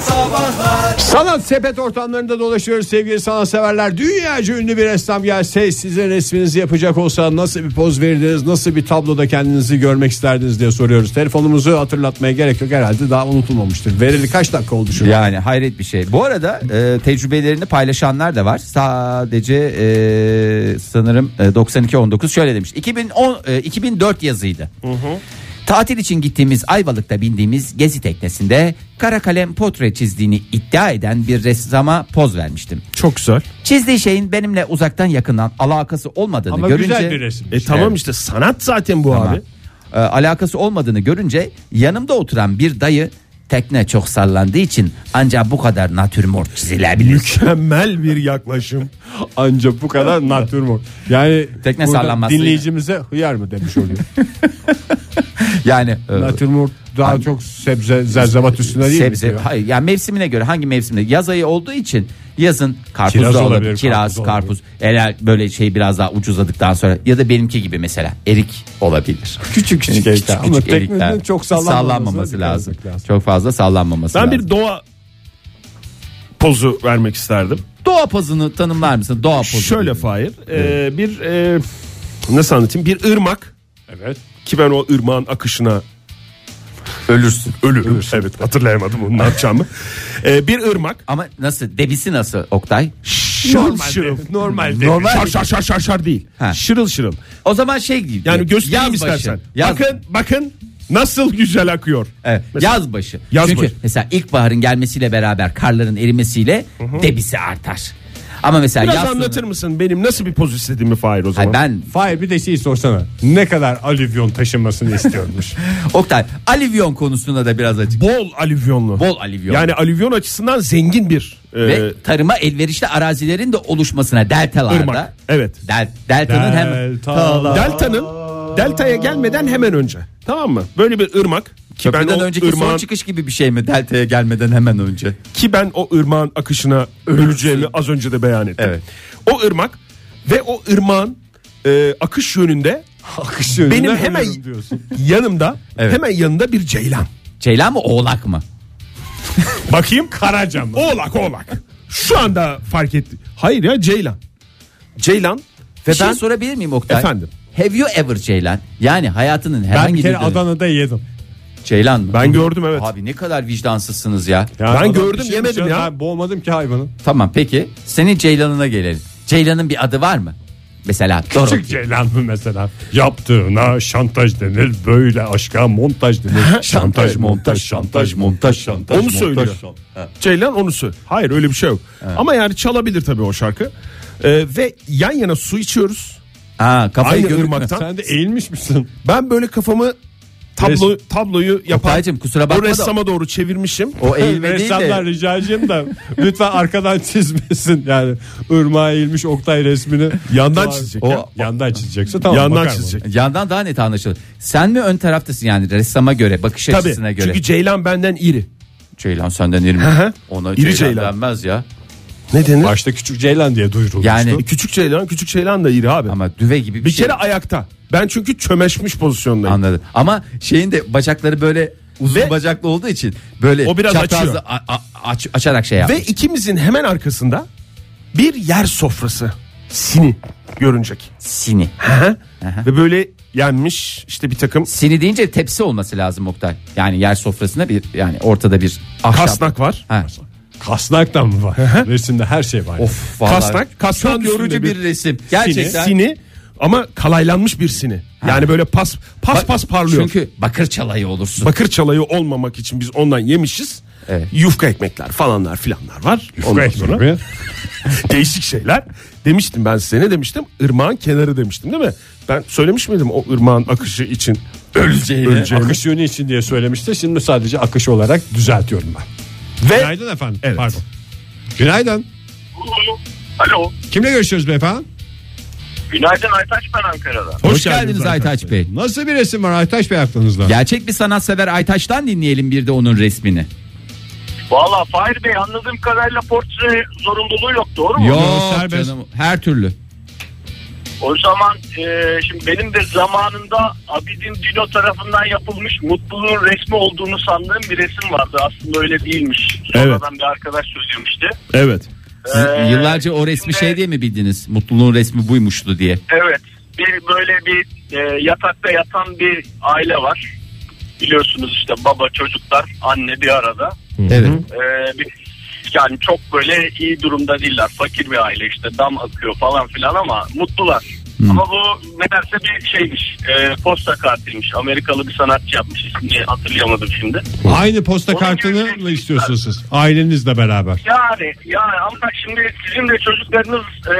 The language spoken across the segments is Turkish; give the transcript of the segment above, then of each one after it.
sabahlar. Sanat sepet ortamlarında dolaşıyoruz sevgili sanatseverler. Dünyaca ünlü bir ressam gelse size resminizi yapacak olsa nasıl bir poz verirdiniz, nasıl bir tabloda kendinizi görmek isterdiniz diye soruyoruz. Telefonumuzu hatırlatmaya gerek yok herhalde daha unutulmamıştır. Verili kaç dakika oldu şu an? Yani hayret bir şey. Bu arada e, tecrübelerini paylaşanlar da var. Sadece e, sanırım e, 92 19 şöyle demiş. 2010 e, 2004 yazıydı. Tatil için gittiğimiz Ayvalık'ta bindiğimiz gezi teknesinde kara kalem potre çizdiğini iddia eden bir ressama poz vermiştim. Çok güzel. Çizdiği şeyin benimle uzaktan yakından alakası olmadığını Ama görünce güzel bir resim. E tamam işte sanat zaten bu abi. e, alakası olmadığını görünce yanımda oturan bir dayı tekne çok sallandığı için ancak bu kadar natürmort çizilebilir. Mükemmel bir yaklaşım. Ancak bu kadar natürmort. Yani Tekne burada sallanması dinleyicimize hıyar mı demiş oluyor. Yani e, natürmort daha çok sebze zerzevat üstüne değil mi? sebze diyor? hayır yani mevsimine göre hangi mevsimde yaz ayı olduğu için yazın karpuz Kiraz da olabilir, olabilir, kiraz, karpuz karpuz. Eğer böyle şey biraz daha ucuzladıktan sonra ya da benimki gibi mesela erik olabilir. Küçük küçük, Küçük işte. Ama küçük erikler. teknenin çok sallanmaması, Sallanmaması lazım. dikkat etmek Çok fazla sallanmaması Ben lazım. bir doğa pozu vermek isterdim. doğa pozunu tanımlar mısın? Doğa pozu. Şöyle Fahir. e, bir e, nasıl anlatayım? Bir ırmak Evet. ki ben o ırmağın akışına ölürsün. ölürüm. Evet hatırlayamadım onu ne yapacağımı. E, bir ırmak. Ama nasıl debisi nasıl Oktay? Şırıl şırıl. Normal. Normal. Şar şar şar şar şar değil. Ha. Şırıl şırıl. O zaman şey gibi. Yani göstereyim yazbaşı. istersen. Yaz, Bakın bakın nasıl güzel akıyor. Evet, Mesela- yazbaşı. Yazbaşı. Çünkü mesela ilkbaharın gelmesiyle beraber karların erimesiyle debisi artar. Ama mesela Biraz yaz sonu- anlatır mısın benim nasıl bir poz istediğimi Fahir o zaman? Hayır, ben Fahir bir de şeyi sorsana. Ne kadar alüvyon taşınmasını istiyormuş. Oktay alivyon konusunda da biraz açık. Bol alüvyonlu. Bol alivyon. Yani alüvyon açısından zengin bir e, ve tarıma elverişli arazilerin de oluşmasuna deltalarda. ırmak. Evet. Del, deltanın hem Deltalar. Delta'nın deltaya gelmeden hemen önce. Tamam mı? Böyle bir ırmak ki ben köprüden o önceki son ırmağın çıkış gibi bir şey mi deltaya gelmeden hemen önce? ki ben o ırmağın akışına öleceğimi az önce de beyan ettim. Evet. O ırmak ve o ırmağın e, akış yönünde Akış yönünden Benim hemen- ölürüm diyorsun. yanımda Evet. hemen yanında bir ceylan. Ceylan mı oğlak mı? Bakayım Karaca mı? Oğlak oğlak. Şu anda fark etti. Hayır ya ceylan. Ceylan ve Bir şey ben sorabilir miyim Oktay? Efendim? Have you ever Ceylan? Yani hayatının Ben herhangi bir bir kere dönemi- Adana'da yedim. Ceylan mı? ben gördüm evet. Abi ne kadar vicdansızsınız ya. Yani Ben adam gördüm, bir şey yemedim dışarı- ya. Ben boğmadım ki hayvanı. Tamam peki. Senin Ceylan'ına gelelim. Ceylan'ın bir adı var mı? Mesela Dorothy. Küçük Ceylan mı mesela? Yaptığına şantaj denir. Böyle aşka montaj denir. şantaj montaj şantaj montaj şantaj. Onu montaj, söylüyor. şantaj. Ceylan onu söylüyor. Hayır öyle bir şey yok. Ama yani çalabilir tabii o şarkı. Ee, ve yan yana su içiyoruz. Ha, kafayı Aynı gördün mü? ırmaktan. Sen de eğilmiş misin? Ben böyle kafamı tablo tabloyu yapan Oktaycığım, kusura o bakma da- ressama doğru çevirmişim. O eğilme değil Ressamlar de. rica edeceğim de lütfen arkadan çizmesin yani ırmağa eğilmiş Oktay resmini. Yandan Var. çizecek O- ya. Yandan çizecekse tamam. Yandan bakar mı? çizecek. Yandan daha net anlaşılır. Sen mi ön taraftasın yani ressama göre, bakış Tabii. açısına göre? Çünkü Ceylan benden iri. Ceylan senden iri mi? hı. Ona İri Ceylan, Ceylan. denmez ya. Ne denir? Başta küçük Ceylan diye duyurulmuştu. Yani- Küçük Ceylan, küçük Ceylan da iri abi. Ama düve gibi bir, bir şey. kere ayakta. Ben çünkü çömeşmiş pozisyondayım. Anladım. Ama şeyin de bacakları böyle uzun Ve- bacaklı olduğu için böyle O biraz çaprazı açıyor. a- a- aç- açarak şey yapmış. Ve ikimizin hemen arkasında bir yer sofrası sini görünecek. Sini. Ve böyle yenmiş işte bir takım Sini deyince tepsi olması lazım Oktay. Yani yer sofrasında bir yani ortada bir ahşap. kasnak var. Ha. Kasnak da mı var? Resimde her şey var. Of vallahi. Kasnak, kasnak Çok yorucu üstünde bir, bir resim. Sini, Gerçekten. sini ama kalaylanmış bir sini. Yani böyle pas pas Bak- pas parlıyor. Çünkü bakır çalayı olursun. Bakır çalayı olmamak için biz ondan yemişiz. Evet. Yufka ekmekler falanlar filanlar var. Ondan Ondan sonra- sonra değişik şeyler. Demiştim ben size ne demiştim? Irmağın kenarı demiştim değil mi? Ben söylemiş miydim o ırmağın akışı için Öleceğini. öleceğini? Akış yönü için diye söylemişti. Şimdi sadece akış olarak düzeltiyorum ben. Ve Günaydın efendim. Pardon. Günaydın. Alo. Kimle görüşüyoruz beyefendi? Günaydın Aytaç ben Ankara'dan. Hoş, geldiniz Aytaç Bey. Nasıl bir resim var Aytaç Bey aklınızda? Gerçek bir sanatsever Aytaç'tan dinleyelim bir de onun resmini. Valla Fahir Bey anladığım kadarıyla portre zorunluluğu yok doğru mu? Yok serbest. canım her türlü. O zaman e, şimdi benim de zamanında Abidin Dino tarafından yapılmış mutluluğun resmi olduğunu sandığım bir resim vardı. Aslında öyle değilmiş. Evet. Sonradan bir arkadaş söylemişti. Evet. Siz Ee, yıllarca o resmi içinde- şey diye mi bildiniz? Mutluluğun resmi buymuştu diye. Evet. Bir böyle bir e, yatakta yatan bir aile var. Biliyorsunuz işte baba, çocuklar, anne bir arada. Evet. Ee, bir- yani çok böyle iyi durumda değiller. Fakir bir aile işte dam akıyor falan filan ama mutlular. Ama bu meğerse bir şeymiş. E, posta kartıymış. Amerikalı bir sanatçı yapmış. İsmini hatırlayamadım şimdi. Aynı posta Onun kartını gibi- mı istiyorsunuz siz? Ailenizle beraber. Yani yani ama şimdi sizin de çocuklarınız e,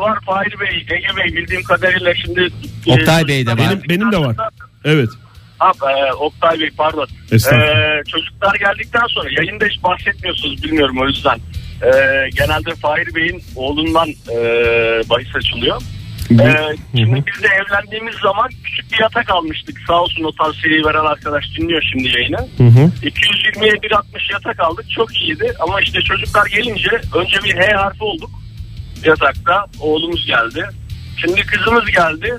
var Fahir Bey, Ege Bey bildiğim kadarıyla şimdi e, Oktay Bey de var. Benim benim de var. Evet. Ha, e, Oktay Bey pardon. Estağfurullah. E, çocuklar geldikten sonra yayında hiç bahsetmiyorsunuz bilmiyorum o yüzden. E, genelde Fahir Bey'in oğlundan e, bahis açılıyor. E, şimdi biz de evlendiğimiz zaman küçük bir yatak almıştık. Sağ olsun o tavsiyeyi veren arkadaş dinliyor şimdi yayını. 220'ye 1.60 yatak aldık. Çok iyiydi ama işte çocuklar gelince önce bir H harfi olduk yatakta. Oğlumuz geldi. Şimdi kızımız geldi.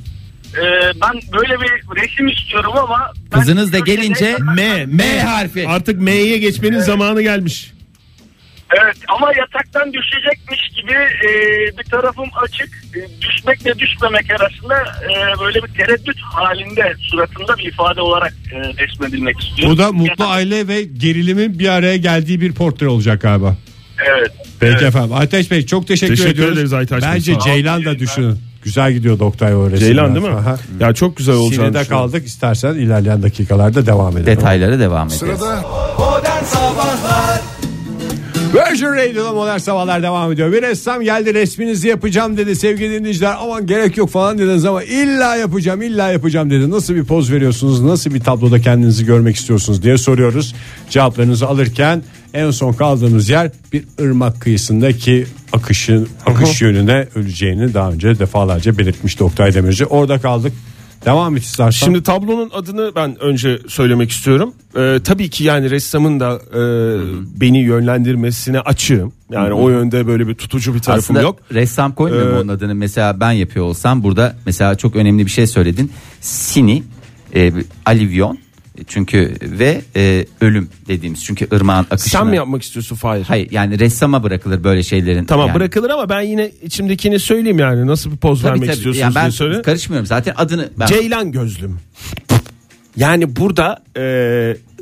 Ee, ben böyle bir resim istiyorum ama ben Kızınız da şey gelince M M harfi. Artık M'ye geçmenin zamanı gelmiş. Evet ama yataktan düşecekmiş gibi e, bir tarafım açık. E, düşmekle düşmemek arasında e, böyle bir tereddüt halinde suratında bir ifade olarak e, resmedilmek istiyorum. Bu da mutlu Yatak- aile ve gerilimin bir araya geldiği bir portre olacak galiba. Evet. Peki efendim. Aytaç Bey çok teşekkür, Teşekkür ediyoruz. ederiz Aytaç Bey. Bence Sağ olun. Ceylan da düşünün. Güzel gidiyor Oktay o resimler. Ceylan değil mi? Aha. Ya çok güzel olacağını Sinirde düşünüyorum. kaldık. İstersen ilerleyen dakikalarda devam edelim. Detaylara devam edeceğiz. Sırada Virgin Radio'da modern sabahlar devam ediyor. Bir ressam geldi resminizi yapacağım dedi sevgili dinleyiciler. Aman gerek yok falan dediniz ama illa yapacağım illa yapacağım dedi. Nasıl bir poz veriyorsunuz nasıl bir tabloda kendinizi görmek istiyorsunuz diye soruyoruz. Cevaplarınızı alırken en son kaldığımız yer bir ırmak kıyısındaki akışın akış yönüne öleceğini daha önce defalarca belirtmişti Oktay Demirci. Orada kaldık. Devam et istersen. Şimdi tablonun adını ben önce söylemek istiyorum. Ee, tabii ki yani ressamın da e, beni yönlendirmesine açığım. Yani o yönde böyle bir tutucu bir tarafım Aslında yok. ressam koymuyor mu Ee, onun adını? Mesela ben yapıyor olsam burada mesela çok önemli bir şey söyledin. Sini, e, alivyon çünkü ve e, ölüm dediğimiz çünkü ırmağın akışına. Sen mi yapmak istiyorsun Fahir? Hayır yani ressama bırakılır böyle şeylerin. Tamam yani. bırakılır ama ben yine içimdekini söyleyeyim yani nasıl bir poz Tabii, vermek tabii. istiyorsunuz Yani ben diye söyle. karışmıyorum zaten adını. Ben... Ceylan gözlüm. Yani burada e,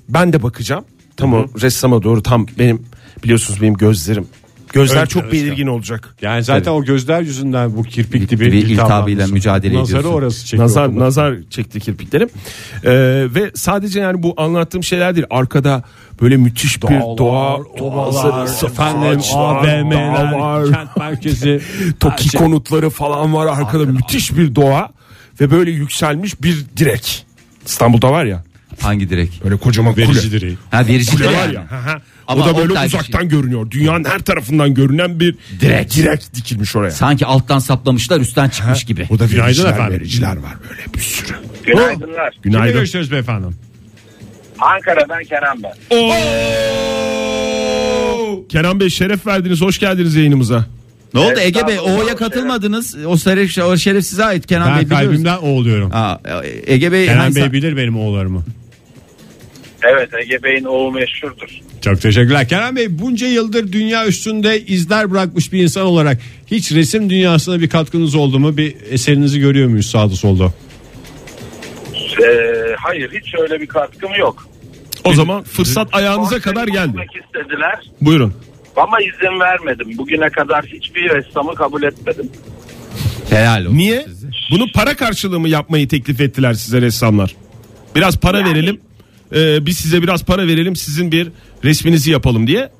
ben de bakacağım. Tamam ressama doğru tam benim biliyorsunuz benim gözlerim. Gözler Öyle çok gözler. belirgin olacak. yani zaten o gözler yüzünden bu kirpik Bir- gibi bir iltihabıyla iltihablanmışsın. mücadele Nazarı ediyorsun. orası çekiyor. Nazar nazar çekti kirpiklerim. E, ve sadece yani bu anlattığım şeyler değil. Arkada böyle müthiş bir Dağlar, doğa ovalar, manzarası, efendim, ağaçlar, AVM'ler, dağlar. kent merkezi, Toki Her şey. konutları falan var arkada müthiş bir doğa ve böyle yükselmiş bir direk. İstanbul'da var ya Hangi direkt? böyle kocaman kule. Verici direği. Ha verici Kule direkt. var ya. hı hı. Ama o da böyle Oktay bir şey- uzaktan görünüyor. Dünyanın her tarafından görünen bir Direk. dikilmiş oraya. Sanki alttan saplamışlar üstten çıkmış gibi. O da Günaydın vericiler, efendim. vericiler var böyle bir sürü. Günaydınlar. Kimle Günaydın. görüşüyoruz beyefendi? Ankara'dan Kenan ben. Kenan Bey şeref verdiniz. Hoş geldiniz yayınımıza. Ne oldu Evet, Ege Bey? tamam. O'ya katılmadınız. O şeref, o şeref size ait Kenan Ben Bey biliyoruz. kalbimden oğluyorum. Aa, Ege Bey, Kenan hangi- Bey bilir benim oğullarımı. Evet Ege Bey'in oğlu meşhurdur. Çok teşekkürler. Kenan Bey bunca yıldır dünya üstünde izler bırakmış bir insan olarak hiç resim dünyasına bir katkınız oldu mu? Bir eserinizi görüyor muyuz sağda solda? Ee, hayır hiç öyle bir katkım yok. O zaman fırsat ayağınıza kadar geldi. Konsept yapmak istediler Buyurun. ama izin vermedim. Bugüne kadar hiçbir ressamı kabul etmedim. Helal olsun Niye? size. Bunu para karşılığı mı yapmayı teklif ettiler size ressamlar? Biraz para Yani- verelim. Ee, biz size biraz para verelim. Sizin bir resminizi yapalım diye.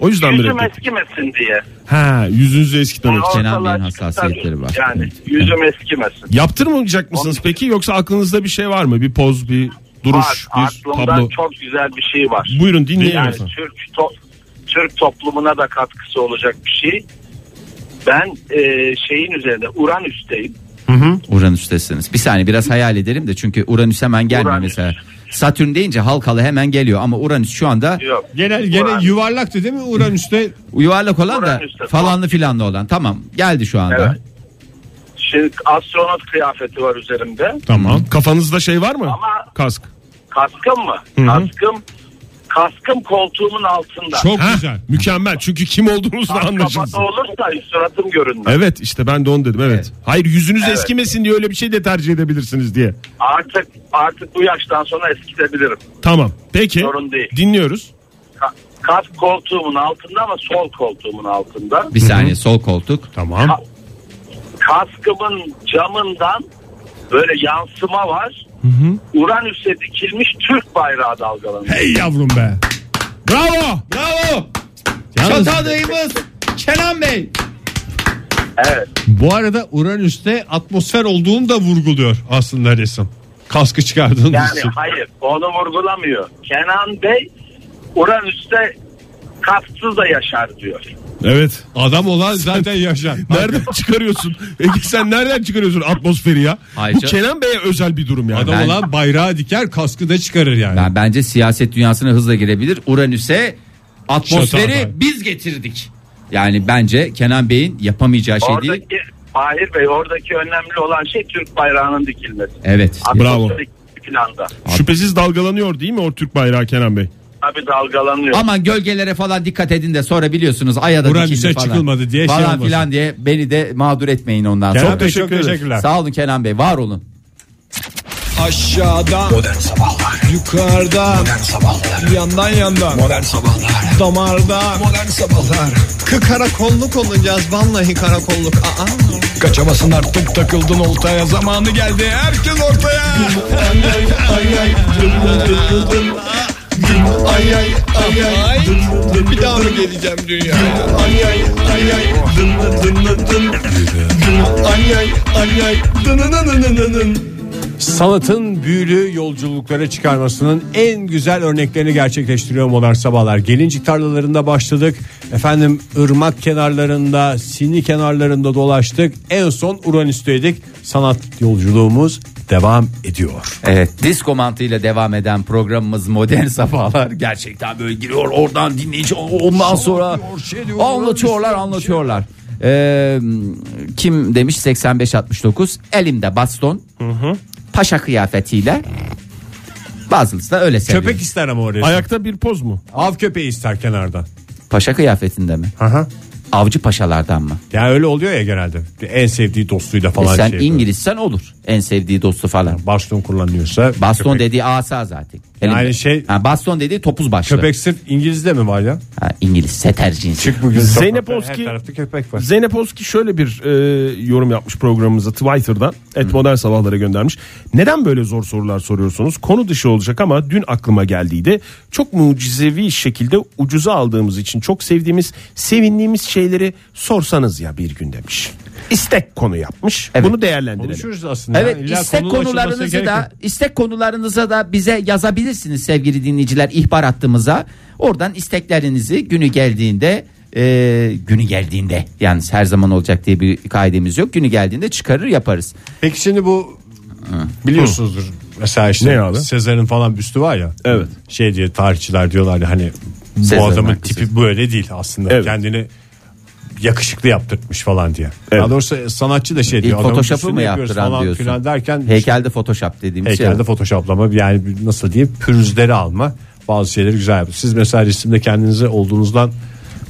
O yüzden mi Yüzüm reddettiler? eskimesin diye. Ha, yüzünüzü eskitmemek için. Ortalığa Kenan Bey'in çıktı hassasiyetleri tabii. var. Yani Evet. yüzüm eskimesin. Yaptırmayacak mısınız peki yoksa aklınızda bir şey var mı? Bir poz, bir duruş, var, bir aklımda tablo. çok güzel bir şey var. Buyurun dinleyin. yani efendim. Türk, to- Türk toplumuna da katkısı olacak bir şey. Ben e, şeyin üzerinde Uranüs'teyim. Uranüs'tesiniz. Bir saniye biraz hayal edelim de çünkü Uranüs hemen gelmiyor Uranüs. mesela. Satürn deyince halkalı hemen geliyor ama Uranüs şu anda Yok. Genel gene Uranüs. yuvarlaktı değil mi Uranüs'te? yuvarlak olan da Uranüs'te. falanlı filanlı olan. Tamam geldi şu anda. Evet. Şimdi Şey, astronot kıyafeti var üzerimde. Tamam. Kafanızda şey var mı? Ama- Kask. Kaskım mı? hı. Kaskım kaskım koltuğumun altında. Çok Ha? güzel. Mükemmel. Çünkü kim olduğunuz da anlaşılsın. Kapalı olursa suratım görünmez. Evet işte ben de onu dedim evet. Evet. Hayır yüzünüz Evet. eskimesin diye öyle bir şey de tercih edebilirsiniz diye. Artık artık bu yaştan sonra eskitebilirim. Tamam. Peki. Sorun değil. Dinliyoruz. Ka- kask koltuğumun altında ama sol koltuğumun altında. Bir saniye sol koltuk. Tamam. Ka- kaskımın camından böyle yansıma var. Uranüs'e dikilmiş Türk bayrağı dalgalanıyor. Hey yavrum be. Bravo. Bravo. Yalnız- Çatadayımız Kenan Bey. Evet. Bu arada Uranüs'te atmosfer olduğunu da vurguluyor aslında resim. Kaskı çıkardığınız Yani için. hayır onu vurgulamıyor. Kenan Bey Uranüs'te kasksız da yaşar diyor. Evet. Adam olan zaten yaşar. Nereden çıkarıyorsun? Ege sen nereden çıkarıyorsun atmosferi ya? Hayır Bu canım. Kenan Bey'e özel bir durum yani. Adam Ben- olan bayrağı diker kaskı da çıkarır yani. Ben bence siyaset dünyasına hızla girebilir. Uranüs'e atmosferi Şato atar. biz getirdik. Yani bence Kenan Bey'in yapamayacağı şey değil. Oradaki Fahir Bey oradaki önemli olan şey Türk bayrağının dikilmesi. Evet. Bravo. Atmosferik planda. Şüphesiz dalgalanıyor değil mi o Türk bayrağı Kenan Bey? Tabii dalgalanıyor. Aman gölgelere falan dikkat edin de sonra biliyorsunuz aya da Uranüs'e dikildi falan. çıkılmadı diye şey falan olmasın. filan diye beni de mağdur etmeyin ondan Kenan sonra. Bey, çok teşekkürler. Sağ olun Kenan Bey var olun. Aşağıdan Modern Sabahlar Yukarıdan Modern Sabahlar Yandan yandan Modern Sabahlar Damardan Modern Sabahlar Kı karakolluk olacağız vallahi karakolluk. Aa. Kaçamasın artık takıldın oltaya zamanı geldi herkes ortaya Ay ay ay ay. Bir daha mı geleceğim dünyaya? Ay ay ay ay. Dın dın dın dın dın. Dın ay ay ay ay. Dın dın dın dın dın dın. Sanatın büyülü yolculuklara çıkarmasının en güzel örneklerini gerçekleştiriyor modern sabahlar. Gelincik tarlalarında başladık. Efendim ırmak kenarlarında, sini kenarlarında dolaştık. En son Uranüs'teydik. Sanat yolculuğumuz devam ediyor. Evet disco mantığıyla devam eden programımız Modern Sabahlar gerçekten böyle giriyor oradan dinleyici ondan sonra anlatıyorlar anlatıyorlar. şey. Ee, kim demiş 85-69 elimde baston paşa kıyafetiyle bazısı da öyle seviyor. Köpek ister ama oraya. Ayakta bir poz mu? Av köpeği ister kenarda. Paşa kıyafetinde mi? Aha. Avcı paşalardan mı? Yani öyle oluyor ya genelde. En sevdiği dostuyla E falan sen şey. yapıyor. İngilizsen olur en sevdiği dostu falan. Baston kullanıyorsa. Baston köpek. dediği asa zaten. Yani Elimde- şey- Ha, baston dediği topuz başlı. Köpek sırf İngiliz'de mi var ya? Ha, İngiliz seter cinsi. Çık bugün. Zeynep sokakta, Oski- Her tarafta köpek var. Zeynep Oski şöyle bir e, yorum yapmış programımıza Twitter'dan. Et modern sabahlara göndermiş. Neden böyle zor sorular soruyorsunuz? Konu dışı olacak ama dün aklıma geldiydi. Çok mucizevi şekilde ucuza aldığımız için çok sevdiğimiz, sevindiğimiz şeyleri sorsanız ya bir gün demiş. İstek konu yapmış. Evet. Bunu değerlendirelim. Konuşuruz aslında. Evet ya. İlla istek konunun açılmasına konularınızı gerek da yok. istek konularınıza da bize yazabilirsiniz sevgili dinleyiciler ihbar hattımıza. Oradan isteklerinizi günü geldiğinde e, günü geldiğinde yani her zaman olacak diye bir kaidemiz yok. Günü geldiğinde çıkarır yaparız. Peki şimdi bu biliyorsunuzdur. Mesela işte Ne abi? Sezar'ın falan büstü var ya. Evet. Şey diye tarihçiler diyorlar ya hani bu Sezar'ın adamın hakkı tipi Sezar. böyle değil aslında. Evet. Kendini yakışıklı yaptırtmış falan diye. Evet. Daha doğrusu sanatçı da şey İlk diyor. adamın E, Photoshop'u büstünü mu yapıyoruz yaptıran falan diyorsun. filan derken Heykelde Photoshop dediğimiz şey. Heykelde photoshoplama yani bir- nasıl diyeyim pürüzleri alma bazı şeyleri güzel yapıyor. Siz mesela resimde kendinizi olduğunuzdan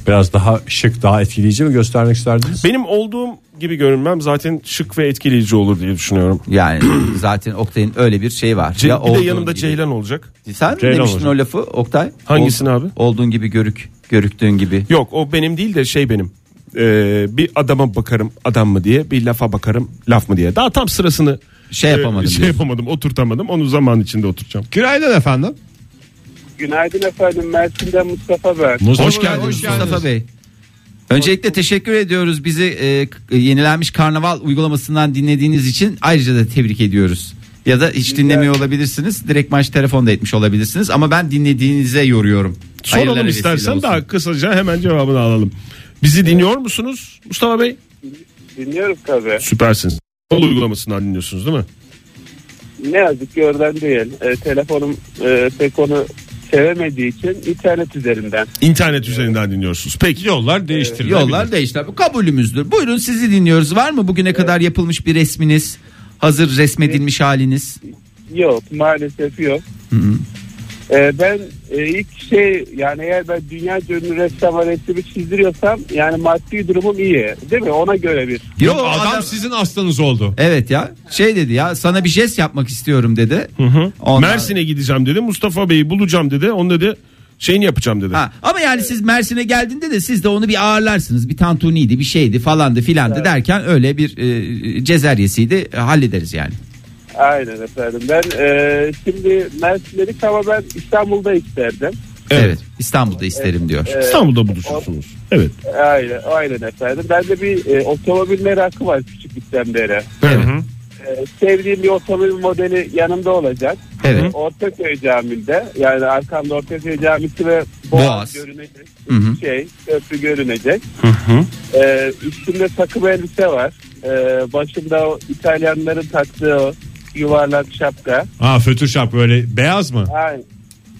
biraz daha şık daha etkileyici mi göstermek isterdiniz? Benim olduğum gibi görünmem zaten şık ve etkileyici olur diye düşünüyorum. Yani zaten Oktay'ın öyle bir şeyi var. Ce- bir de olduğun yanımda gibi. Ceylan olacak. Sen mi Ceylan demiştin olacak. o lafı Oktay? Hangisini Ol- abi? Olduğun gibi görük, görüktüğün gibi. Yok o benim değil de şey benim. Ee, bir adama bakarım adam mı diye bir lafa bakarım laf mı diye. Daha tam sırasını Şey e, yapamadım şey diyorsun. yapamadım oturtamadım. Onu zaman içinde oturacağım. Günaydın efendim. Günaydın efendim. Mersin'den Mustafa ben. Hoş geldiniz Mustafa Bey. Öncelikle teşekkür ediyoruz bizi e, k- yenilenmiş karnaval uygulamasından dinlediğiniz için ayrıca da tebrik ediyoruz. Ya da hiç dinlemiyor olabilirsiniz. Direkt maç telefonda etmiş olabilirsiniz ama ben dinlediğinize yoruyorum. Soralım Hayırlara vesile istersen olsun. daha kısaca hemen cevabını alalım. Bizi dinliyor musunuz Mustafa Bey? Dinliyoruz tabii. Süpersiniz. Yol uygulamasından dinliyorsunuz değil mi? Ne yazık ki oradan değil. E, telefonum e, pek onu sevemediği için internet üzerinden. İnternet üzerinden dinliyorsunuz. Peki Yollar değiştirilebilir. Yollar değişti. Bu kabulümüzdür. Buyurun sizi dinliyoruz. Var mı bugüne kadar yapılmış bir resminiz? Hazır resmedilmiş haliniz? Yok maalesef yok. Ee, ben e, ilk şey yani eğer ben dünya ünlü ressama resmi çizdiriyorsam yani maddi durumum iyi değil mi? Ona göre bir. Yok Adam, sizin aslanız oldu. Evet ya şey dedi ya sana bir jest yapmak istiyorum dedi. Ondan- Mersin'e gideceğim dedi. Mustafa Bey'i bulacağım dedi. Onu dedi şeyini yapacağım dedi. Ha, ama yani siz Mersin'e geldiğinde de siz de onu bir ağırlarsınız. Bir tantuniydi bir şeydi falandı filandı derken öyle bir e, cezeryesiydi E, hallederiz yani. Aynen efendim. Ben e, şimdi Mersin'dedik ama ben İstanbul'da isterdim. Evet. İstanbul'da isterim diyor. İstanbul'da buluşursunuz. Evet. Aynen, aynen efendim. Bende bir e, otomobil merakı var küçüklükten beri. Evet. Ee, sevdiğim bir otomobil modeli yanımda olacak. Evet. Ortaköy Camii'nde yani arkamda Ortaköy Camisi ve Boğaz, Boğaz. görünecek. Hı hı. Şey, köprü görünecek. Ee, üstümde takım elbise var. Ee, başımda o İtalyanların taktığı o yuvarlak şapka. Ha fötür şap böyle beyaz mı? Ay,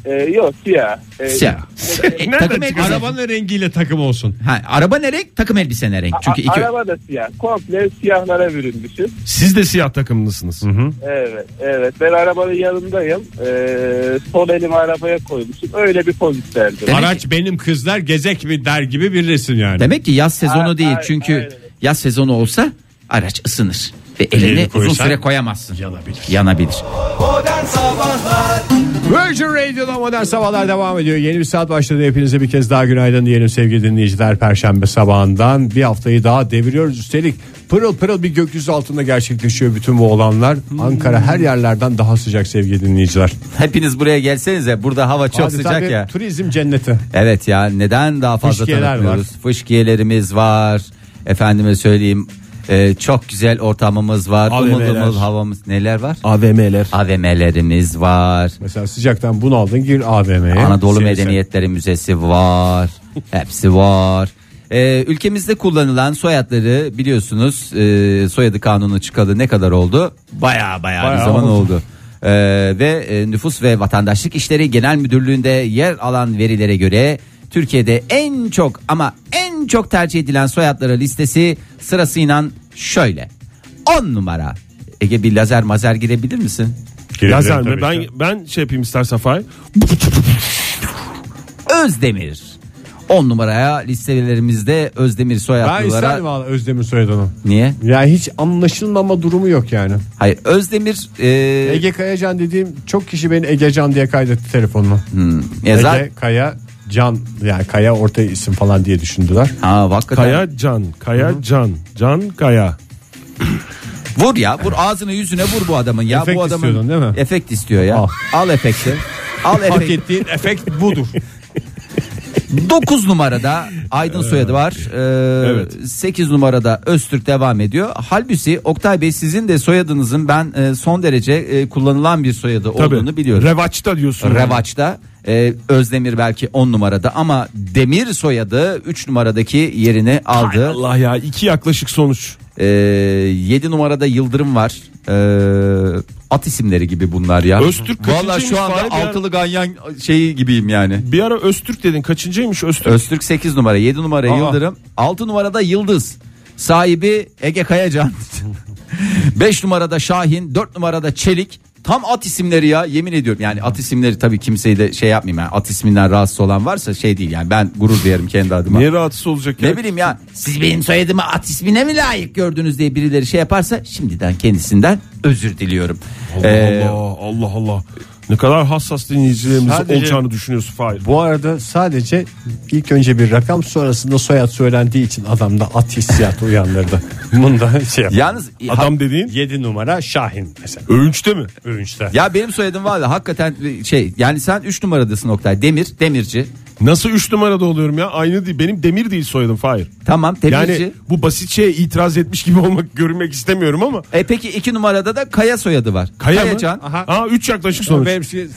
Ee, yok siyah. Ee, Siyah. E, takım elbise. Araba, Arabanın rengiyle takım olsun. ha, araba ne renk? Takım elbise ne renk? Çünkü Çünkü iki Araba da siyah. Komple siyahlara bürünmüşüz. Siz de siyah takımlısınız. Evet, evet. Ben arabanın yanındayım. Ee, sol elimi arabaya koymuşum. Öyle bir poz isterdim. Demek Araç benim kızlar gezek mi der gibi bir resim yani. Demek ki yaz sezonu Ay- değil. ay- Çünkü aynen. yaz sezonu olsa araç ısınır ve elini uzun koysan süre koyamazsın. yanabilir. Yanabilir. Virgin Radio'da modern sabahlar devam ediyor. Yeni bir saat başladı. Hepinize bir kez daha günaydın diyelim sevgili dinleyiciler. Perşembe sabahından bir haftayı daha deviriyoruz. Üstelik pırıl pırıl bir gökyüzü altında gerçekleşiyor bütün bu olanlar. Hmm. Ankara her yerlerden daha sıcak sevgili dinleyiciler. Hepiniz buraya gelsenize. Burada hava çok Adeta bir sıcak ya. Turizm cenneti. Evet ya neden daha fazla Fışkiyeler tanıtmıyoruz? Fışkiyelerimiz var. Efendime söyleyeyim. e, çok güzel ortamımız var. AVM'ler. Umudumuz havamız neler var? AVM'ler. AVM'lerimiz var. Mesela sıcaktan bunaldın gir AVM'ye. Anadolu Seni- Medeniyetleri Müzesi var. Hepsi var. Ee, ülkemizde kullanılan soyadları biliyorsunuz e, soyadı kanunu çıkalı ne kadar oldu? Baya baya bir Bayağı zaman oldu. oldu. Ee, ve e, Nüfus ve Vatandaşlık İşleri Genel Müdürlüğü'nde yer alan verilere göre Türkiye'de en çok ama en çok tercih edilen soyadları listesi sırasıyla şöyle. 10 numara. Ege bir lazer mazer girebilir misin? Girebilirim Lazer mi? tabii Ben, ki. ben şey yapayım istersen Fahir. Özdemir. 10 numaraya listelerimizde Özdemir Ben soyadlılara isterim valla Özdemir'in soyadını. niye? Ya hiç anlaşılmama durumu yok yani. Hayır Özdemir e, Ege Kayacan dediğim çok kişi beni Egecan diye kaydetti telefonuma. ya Ege zaten- Kaya Can yani Kaya orta isim falan diye düşündüler. Ha, hakikaten. Kaya Can. Kaya Can. Can Kaya. Vur ya vur ağzını yüzüne vur bu adamın ya Efekt bu adamın istiyordun değil mi? efekt istiyor ya. Al. Al, efekti. Al Hak efekti. ettiğin efekt budur. 9 numarada Aydın soyadı var. Evet. 8 numarada Öztürk devam ediyor. Halbuki Oktay Bey sizin de soyadınızın ben e, son derece e, kullanılan bir soyadı olduğunu biliyorum. Revaçta diyorsun. Revaç'ta e, Özdemir belki 10 numarada ama Demir soyadı 3 numaradaki yerini Hay aldı. Allah ya iki yaklaşık sonuç. E, 7 numarada Yıldırım var. E, at isimleri gibi bunlar ya. Öztürk Valla kaçıncıymış şu anda bari bir ara? altılı ganyan şeyi gibiyim yani. Bir ara Öztürk dedin kaçıncıymış Öztürk? Öztürk 8 numara, 7 numara Aa. Yıldırım, 6 numarada Yıldız. Sahibi Ege Kayacan. 5 numarada Şahin, 4 numarada Çelik. Tam at isimleri ya yemin ediyorum. Yani at isimleri tabii kimseyi de şey yapmayayım. Yani at isminden rahatsız olan varsa şey değil yani ben gurur duyarım kendi adıma. Niye rahatsız olacak ya? Ne bileyim ya siz benim soyadımı at ismine mi layık gördünüz diye birileri şey yaparsa şimdiden kendisinden özür diliyorum. Allah Ee, Allah Allah Allah. Ne kadar hassas dinleyicilerimiz Sadece- olacağını düşünüyorsun Fahir. Bu arada sadece ilk önce bir rakam sonrasında soyad söylendiği için adamda at hissiyatı uyandırdı. Bunda şey yap. Yalnız Adam dediğin 7 numara Şahin mesela. övünçte mi? Övünçler. ya benim soyadım var da hakikaten şey yani sen 3 numaradasın Oktay. Demir, demirci. Nasıl 3 numarada oluyorum ya? Aynı değil. Benim demir değil soyadım Fahir. Tamam Yani demirci. bu basit şeye itiraz etmiş gibi olmak görünmek istemiyorum ama. E peki 2 numarada da Kaya soyadı var. Kaya Kayacan. mı? Aha. Aa 3 yaklaşık sonuç. Benim şey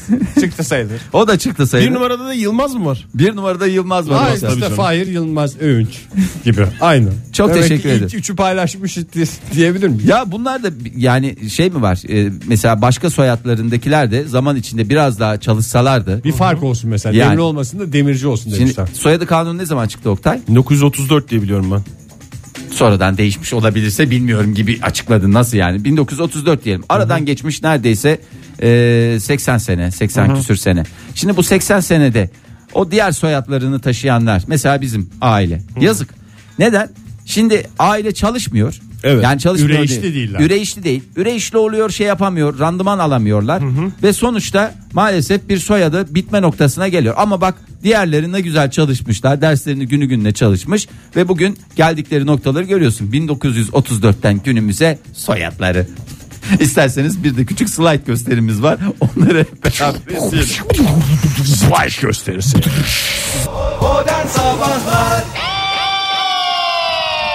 çıktı sayılır. O da çıktı sayılır. Bir Bir, numarada da Yılmaz mı var? numarada Yılmaz var. Hayır mesela. işte canım. Fahir Yılmaz Övünç gibi. Aynı. Çok Demek teşekkür ki ilk ederim. üçü paylaşmış diyebilir miyim? Ya bunlar da yani şey mi var? E, mesela başka soyadlarındakiler de zaman içinde biraz daha çalışsalardı. Bir fark olsun mesela. Yani. Demir olmasın da demirci olsun Şimdi demişler. soyadı kanunu ne zaman çıktı Oktay? 1934 diye biliyorum ben. Sonradan değişmiş olabilirse bilmiyorum gibi açıkladı. Nasıl yani? 1934 diyelim. Aradan geçmiş neredeyse e, 80 sene 80 küsür sene. Şimdi bu 80 senede o diğer soyadlarını taşıyanlar mesela bizim aile yazık. Neden? Şimdi aile çalışmıyor. Evet. Yani çalışmıyor Üreyişli değil. değiller. Üreyişli değil. Üreyişli oluyor şey yapamıyor randıman alamıyorlar. Ve sonuçta maalesef bir soyadı bitme noktasına geliyor. Ama bak diğerleri ne güzel çalışmışlar. Derslerini günü gününe çalışmış. Ve bugün geldikleri noktaları görüyorsun. 1934'ten günümüze soyadları. İsterseniz bir de küçük slide gösterimiz var. Onları hep beraber izleyelim. gösterisi.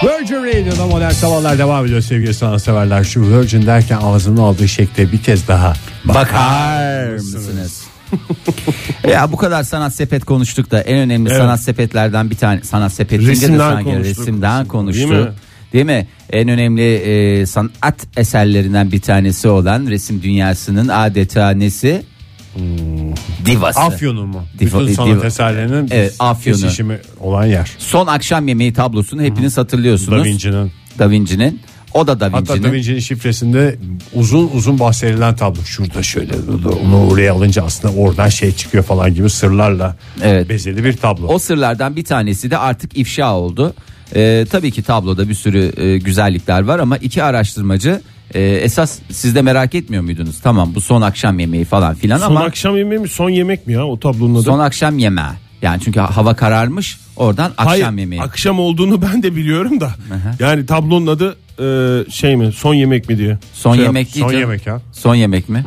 Virgin Radio'da modern sabahlar devam ediyor sevgili sanatseverler. Şu Virgin derken ağzının aldığı şekle bir kez daha. Bakar mısınız? ya bu kadar sanat sepet konuştuk da en önemli sanat sepetlerden bir tane sanat sepetinde de Resimden sanki konuştuk. resimden konuştuk. Değil Değil mi? mi? En önemli e, sanat eserlerinden bir tanesi olan resim dünyasının adeta nesi? Divası. Afyon'un mu? Difa- Bütün sanat difa- eserlerinin e, Evet, Afyon'u. kesişimi olan yer. Son akşam yemeği tablosunu hepiniz hatırlıyorsunuz. Da Vinci'nin. Da Vinci'nin. O da Da Hatta Vinci'nin. Da Vinci'nin şifresinde uzun uzun bahsedilen tablo. Şurada şöyle durdu. Onu oraya alınca aslında oradan şey çıkıyor falan gibi sırlarla Evet. bezeli bir tablo. O sırlardan bir tanesi de artık ifşa oldu. Ee, tabii ki tabloda bir sürü e, güzellikler var ama iki araştırmacı e, esas siz de merak etmiyor muydunuz? Tamam bu son akşam yemeği falan filan Son ama akşam yemeği mi son yemek mi ya o tablonun adı? son akşam yemeği. Yani çünkü hava kararmış oradan akşam Hayır, yemeği. akşam olduğunu ben de biliyorum da. Yani tablonun adı e, şey mi son yemek mi diye. son Şey yap- yemek değil Son canım. yemek ya. Son yemek mi?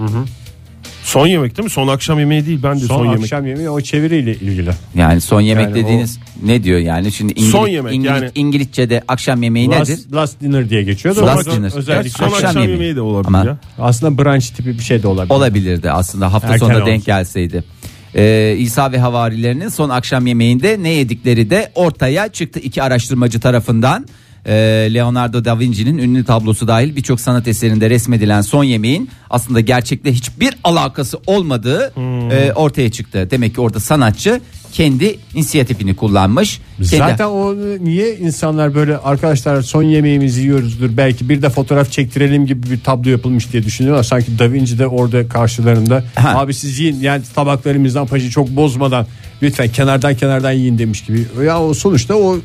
Son yemek değil mi? Son akşam yemeği değil ben de son, Son, yemek. akşam yemeği o çeviriyle ilgili. Yani son yemek Yani dediğiniz ne diyor yani? Şimdi İngiliz, Son yemek İngiliz- yani. İngilizcee'de akşam yemeği E, nedir? Last, last dinner diye geçiyor da Last orada dinner. Gerçi özellikle son akşam, Akşam yemeği. yemeği de olabilir Ama- ya. aslında brunch tipi bir şey de olabilir. Olabilirdi aslında hafta Erken sonuna olsun. denk gelseydi. Ee, İsa ve havarilerinin son akşam yemeğinde ne yedikleri de ortaya çıktı iki araştırmacı tarafından. Ee, Leonardo da Vinci'nin ünlü tablosu dahil birçok sanat eserinde resmedilen son yemeğin aslında gerçekle hiçbir alakası olmadığı Hmm. e, ortaya çıktı. Demek ki orada sanatçı kendi inisiyatifini kullanmış. Kendi- Zaten o niye insanlar böyle arkadaşlar son yemeğimizi yiyoruzdur belki bir de fotoğraf çektirelim gibi bir tablo yapılmış diye düşünüyorlar. Sanki Da Vinci de orada karşılarında Ha. abi siz yiyin yani tabaklarımızdan paşa çok bozmadan lütfen kenardan kenardan yiyin demiş gibi. Ya o sonuçta o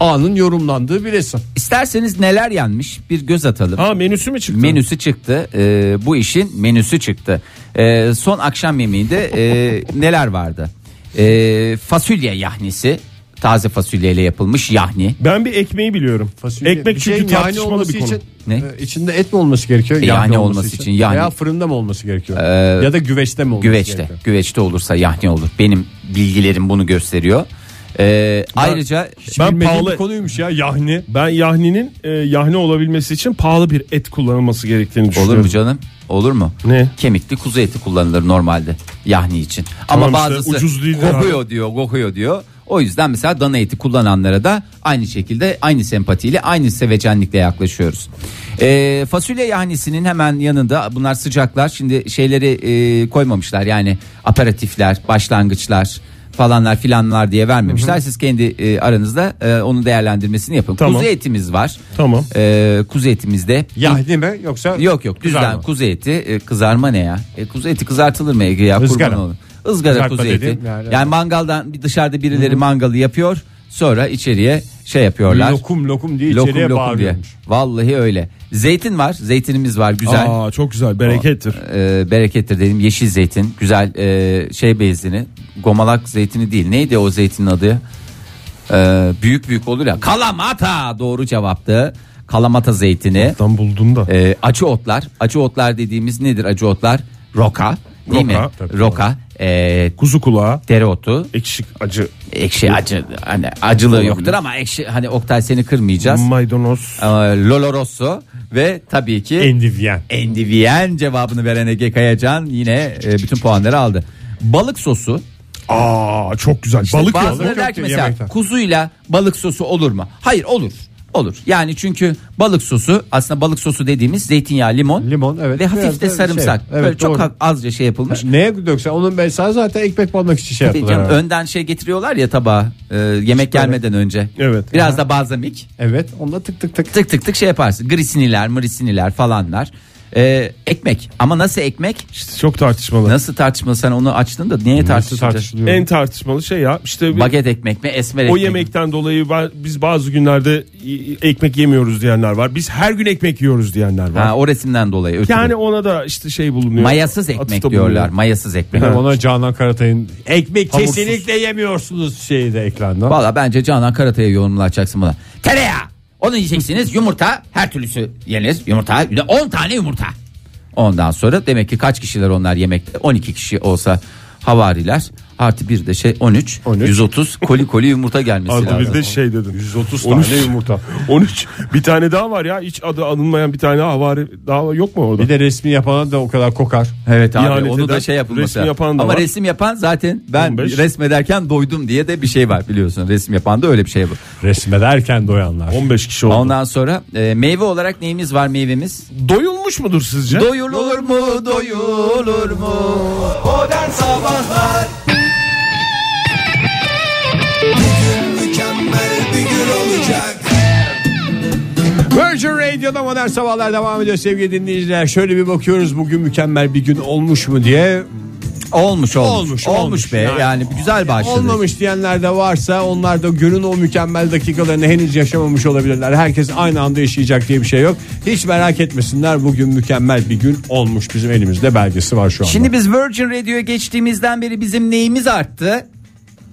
anın yorumlandığı bir resim. İsterseniz neler yanmış bir göz atalım. Ha menüsü mü çıktı? Menüsü çıktı. Ee, bu işin menüsü çıktı. Ee, son akşam yemeğinde e, neler vardı? Ee, fasulye yahnisi. Taze fasulyeyle yapılmış yahni. Ben bir ekmeği biliyorum. Fasulye- Ekmek bir çünkü şeyin yani tartışmalı olması bir konu. Için, Ne? e, içinde et mi olması gerekiyor? E, yani olması için, yani. E, Veya fırında mı olması gerekiyor? ya da güveçte mi olması Güveçte. gerekiyor? Güveçte olursa yahni olur. Benim bilgilerim bunu gösteriyor. Ee, ayrıca Ben Bilmediğim pahalı bir konuymuş ya yahni. Ben yahninin e, yahni olabilmesi için pahalı bir et kullanılması gerektiğini olur düşünüyorum. mu canım? Olur mu? Ne? Kemikli kuzu eti kullanılır normalde yahni için. Tamam Ama işte, bazısı ucuz değil abi. kokuyor diyor, kokuyor diyor. O yüzden mesela dana eti kullananlara da aynı şekilde aynı sempatiyle aynı sevecenlikle yaklaşıyoruz. Ee, fasulye yahnisinin hemen yanında bunlar sıcaklar. Şimdi şeyleri e, koymamışlar yani aperatifler, başlangıçlar falanlar filanlar diye vermemişler. Siz kendi e, aranızda e, onun değerlendirmesini yapın. Tamam. Kuzu etimiz var. Tamam. Ee, kuzu etimizde Yahni mi yoksa Yok yok düzden Kızarma. kuzu eti e, kızarma ne ya? E, kuzu eti kızartılır mı Ege ya? Izgara. Kurban olun. Izgara Kızartma kuzu eti. dediğim yani- Yani, mangaldan bir dışarıda birileri mangalı yapıyor. Sonra içeriye şey yapıyorlar. lokum lokum diye Lokum, içeriye lokum diye. bağırıyormuş. Vallahi öyle. Zeytin var. Zeytinimiz var güzel. Aa çok güzel berekettir. E, berekettir dedim. Yeşil zeytin, güzel e, şey bezini. Gomalak zeytini değil. Neydi o zeytinin adı? E, büyük büyük olur ya. Kalamata doğru cevaptı. Kalamata zeytini. Tam buldum da. Ee, acı otlar. Acı otlar dediğimiz nedir acı otlar? Roka. Değil Roka, mi? tabii. Roka. ee, Kuzu kulağı, dereotu. ekşik acı, Ekşi acı. Hani acılığı yoktur ama ekşi. Hani Oktay seni kırmayacağız. maydanoz. Ee, Lolo Rosso ve tabii ki Endivyen. Endivyen cevabını veren Ege Kayacan yine e, bütün puanları aldı. Balık sosu. Aa çok güzel. Balık yok. Bazıları der ki yok mesela yemekten. kuzuyla balık sosu olur mu? Hayır olur. Olur. Yani çünkü balık sosu aslında balık sosu dediğimiz zeytinyağı, limon. Limon, evet. Ve hafif Biraz da de şey, sarımsak. evet, Böyle çok doğru. az- azca şey yapılmış. Neye döksen onun mesela zaten ekmek banmak için şey Tabii yaptılar. canım, herhalde. önden şey getiriyorlar ya tabağa e, yemek gelmeden önce. Evet. Biraz da balzamik. Evet onda tık tık tık. Tık tık tık şey yaparsın. Grisiniler, mrisiniler falanlar. Ee, ekmek ama nasıl ekmek? Çok tartışmalı. Nasıl tartışmalı sen onu açtın da niye tartışılacak? tartışılıyor? En tartışmalı şey ya işte bir- Baget ekmek mi esmer ekmek o mi? yemekten dolayı ba- biz bazı günlerde y- ekmek yemiyoruz diyenler var. Biz her gün ekmek yiyoruz diyenler var. Ha, o resimden dolayı. ötürü. yani ona da işte şey bulunuyor. mayasız Atıfta ekmek bulunuyor. diyorlar. Mayasız ekmek. Yani Ona Canan Karatay'ın ekmek Hamursuz. kesinlikle yemiyorsunuz şeyi de eklendi. Valla bence Canan Karatay'a yorumlayacaksın buna. Tereyağı. Onu yiyeceksiniz. Yumurta her türlüsü yeniriz. Yumurta 10 tane yumurta. Ondan sonra demek ki kaç kişiler onlar yemekte? 12 kişi olsa havariler artı bir de şey 13, 130 koli koli yumurta gelmesi Adı bir lazım. de şey dedim. 130 tane yumurta. 13. Bir tane daha var ya hiç adı anılmayan bir tane havari daha yok mu orada? Bir de resmi yapana da o kadar kokar. Evet abi İhanet onu eden, da şey yapılması. resim lazım. yapan da Ama var. resim yapan zaten ben 15. resmederken doydum diye de bir şey var biliyorsun. Resim yapan da öyle bir şey bu. Resmederken doyanlar. 15 kişi oldu. Ondan sonra e, meyve olarak neyimiz var meyvemiz? Doyulmuş mudur sizce? Doyulur mu doyulur mu? Mükemmel bir gün olacak. Virgin Radio'da modern sabahlar devam ediyor sevgili dinleyiciler. Şöyle bir bakıyoruz bugün mükemmel bir gün olmuş mu diye. Olmuş olmuş. Olmuş, Olmuş, olmuş. be. Yani, güzel başladı. Olmamış diyenler de varsa onlar da günün o mükemmel dakikalarını henüz yaşamamış olabilirler. Herkes aynı anda yaşayacak diye bir şey yok. Hiç merak etmesinler bugün mükemmel bir gün olmuş. Bizim elimizde belgesi var şu anda. Şimdi biz Virgin Radio'ya geçtiğimizden beri bizim neyimiz arttı?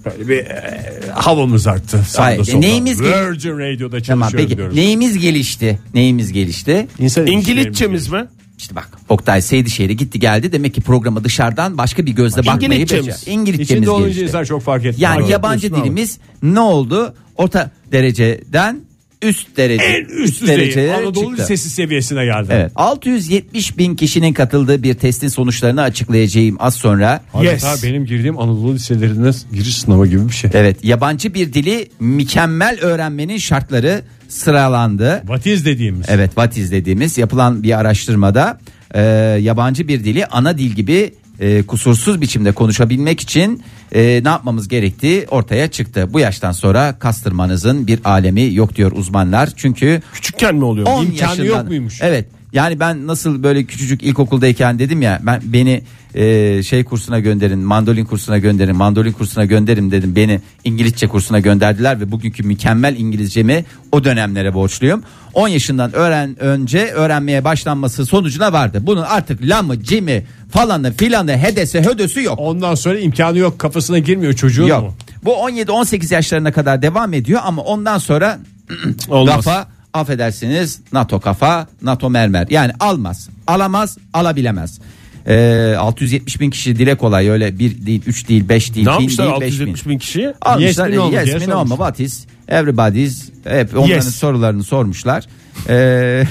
Böyle bir e, havamız arttı. Sağda Hayır, solda. neyimiz- Virgin Radio'da çalışıyorum Tamam peki. diyoruz. Neyimiz gelişti? Neyimiz gelişti? İnsan İngilizcemiz mi? İşte bak Oktay Seydişehir'e gitti geldi. Demek ki programa dışarıdan başka bir gözle bakmayı İngilizcemiz. becer. İçinde İngilizcemiz olunca gelişti. insan çok fark etmiyor. Yani Doğru. yabancı Diyorsun dilimiz ne oldu? Orta dereceden üst derece. En üst düzey derecelere Anadolu çıktı. Lisesi seviyesine geldi. Evet. 670 bin kişinin katıldığı bir testin sonuçlarını açıklayacağım az sonra. Adeta Yes. benim girdiğim Anadolu liselerine giriş sınavı gibi bir şey. Evet yabancı bir dili mükemmel öğrenmenin şartları sıralandı. Vatiz dediğimiz. Evet what is dediğimiz yapılan bir araştırmada e, yabancı bir dili ana dil gibi e, kusursuz biçimde konuşabilmek için e, ne yapmamız gerektiği ortaya çıktı. Bu yaştan sonra kastırmanızın bir alemi yok diyor uzmanlar. Çünkü Küçükken mi oluyor? 10 İmkanı yaşından, yok muymuş? Evet. Yani ben nasıl böyle küçücük ilkokuldayken dedim ya ben beni e, şey kursuna gönderin, mandolin kursuna gönderin, mandolin kursuna gönderin dedim. Beni İngilizce kursuna gönderdiler ve bugünkü mükemmel İngilizcemi o dönemlere borçluyum. 10 yaşından öğren önce öğrenmeye başlanması sonucuna vardı. Bunun artık lamı, cimi falanı filanı hedese hödösü yok. Ondan sonra imkanı yok kafasına girmiyor çocuğun Yok. mu? Bu 17-18 yaşlarına kadar devam ediyor ama ondan sonra Olmaz. kafa affedersiniz NATO kafa NATO mermer yani almaz alamaz alabilemez. Ee, 670 bin kişi dile kolay öyle bir değil 3 değil 5 değil bin Ne yapmışlar değil, beş bin. 670 bin kişiye? Almışlar Yes mi, no mu yes diye mi, no sormuşlar. mu, what is everybody's hep onların Yes. sorularını sormuşlar. Ee,